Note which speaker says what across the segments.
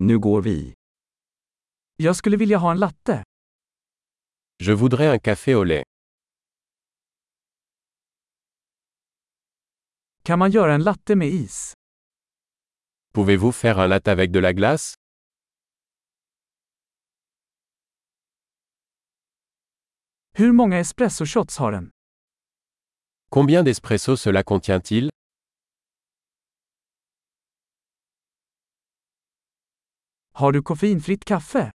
Speaker 1: Nu går vi.
Speaker 2: Jag skulle vilja ha en latte.
Speaker 3: Je voudrais un café au lait.
Speaker 2: Kan man göra en latte med is?
Speaker 3: Pouvez-vous faire un latte avec de la glace
Speaker 2: Hur många espresso shots har den?
Speaker 3: Combien d'espresso cela contient-il
Speaker 2: Har du koffeinfritt kaffe?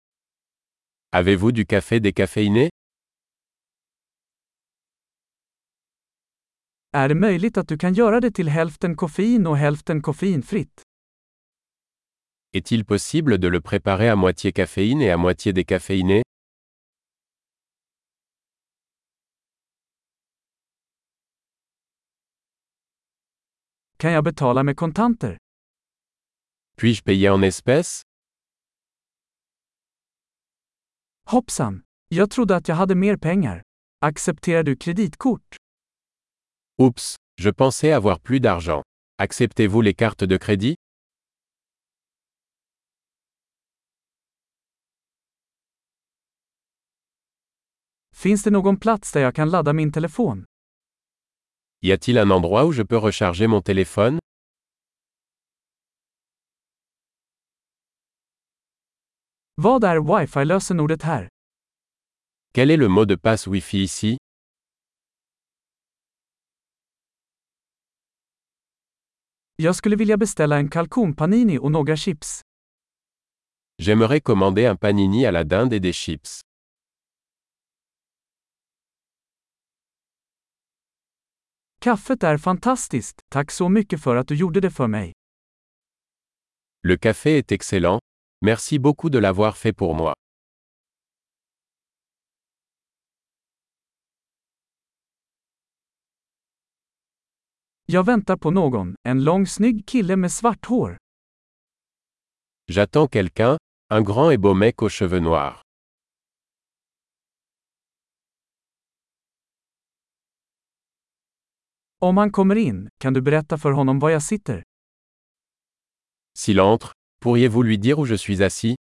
Speaker 3: Avez-vous du café décaféiné
Speaker 2: Är det möjligt att du kan göra det till hälften koffein och hälften koffeinfritt?
Speaker 3: Est-il possible de le préparer à moitié caféine et à moitié décaféiné
Speaker 2: Kan jag betala med kontanter?
Speaker 3: Puis-je payer en espèces
Speaker 2: Hoppsan! Jag trodde att jag hade mer pengar. Accepterar du kreditkort?
Speaker 3: Oups, je pensais avoir plus d'argent. Acceptez-vous les cartes de crédit
Speaker 2: Finns det någon plats där jag kan ladda min telefon?
Speaker 3: Y a-t-il un endroit où je peux recharger mon téléphone
Speaker 2: Vad är wifi-lösenordet här?
Speaker 3: Quel est le mot de passe Wi-Fi ici
Speaker 2: Jag skulle vilja beställa en kalkonpanini och några chips.
Speaker 3: J'aimerais commander un panini à la dinde et des chips.
Speaker 2: Kaffet är fantastiskt, tack så mycket för att du gjorde det för mig.
Speaker 3: Le café est excellent. Merci beaucoup de l'avoir fait pour moi.
Speaker 2: Jag väntar på någon, en lång snygg kille med svart hår.
Speaker 3: J'attends quelqu'un, un grand et beau mec aux cheveux noirs.
Speaker 2: Om han kommer in, kan du berätta för honom var jag sitter?
Speaker 3: S'il entre, pourriez-vous lui dire où je suis assis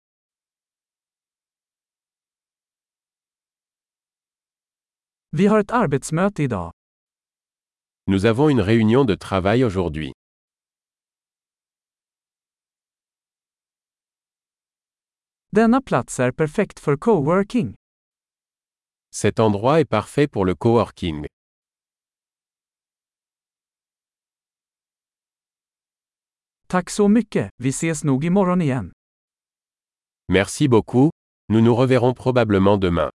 Speaker 2: Vi har ett arbetsmöte idag.
Speaker 3: Nous avons une réunion de travail aujourd'hui.
Speaker 2: Denna plats är perfekt för coworking.
Speaker 3: Cet endroit est parfait pour le coworking.
Speaker 2: Tack så mycket, vi ses nog imorgon igen.
Speaker 3: Merci beaucoup, nous nous reverrons probablement demain.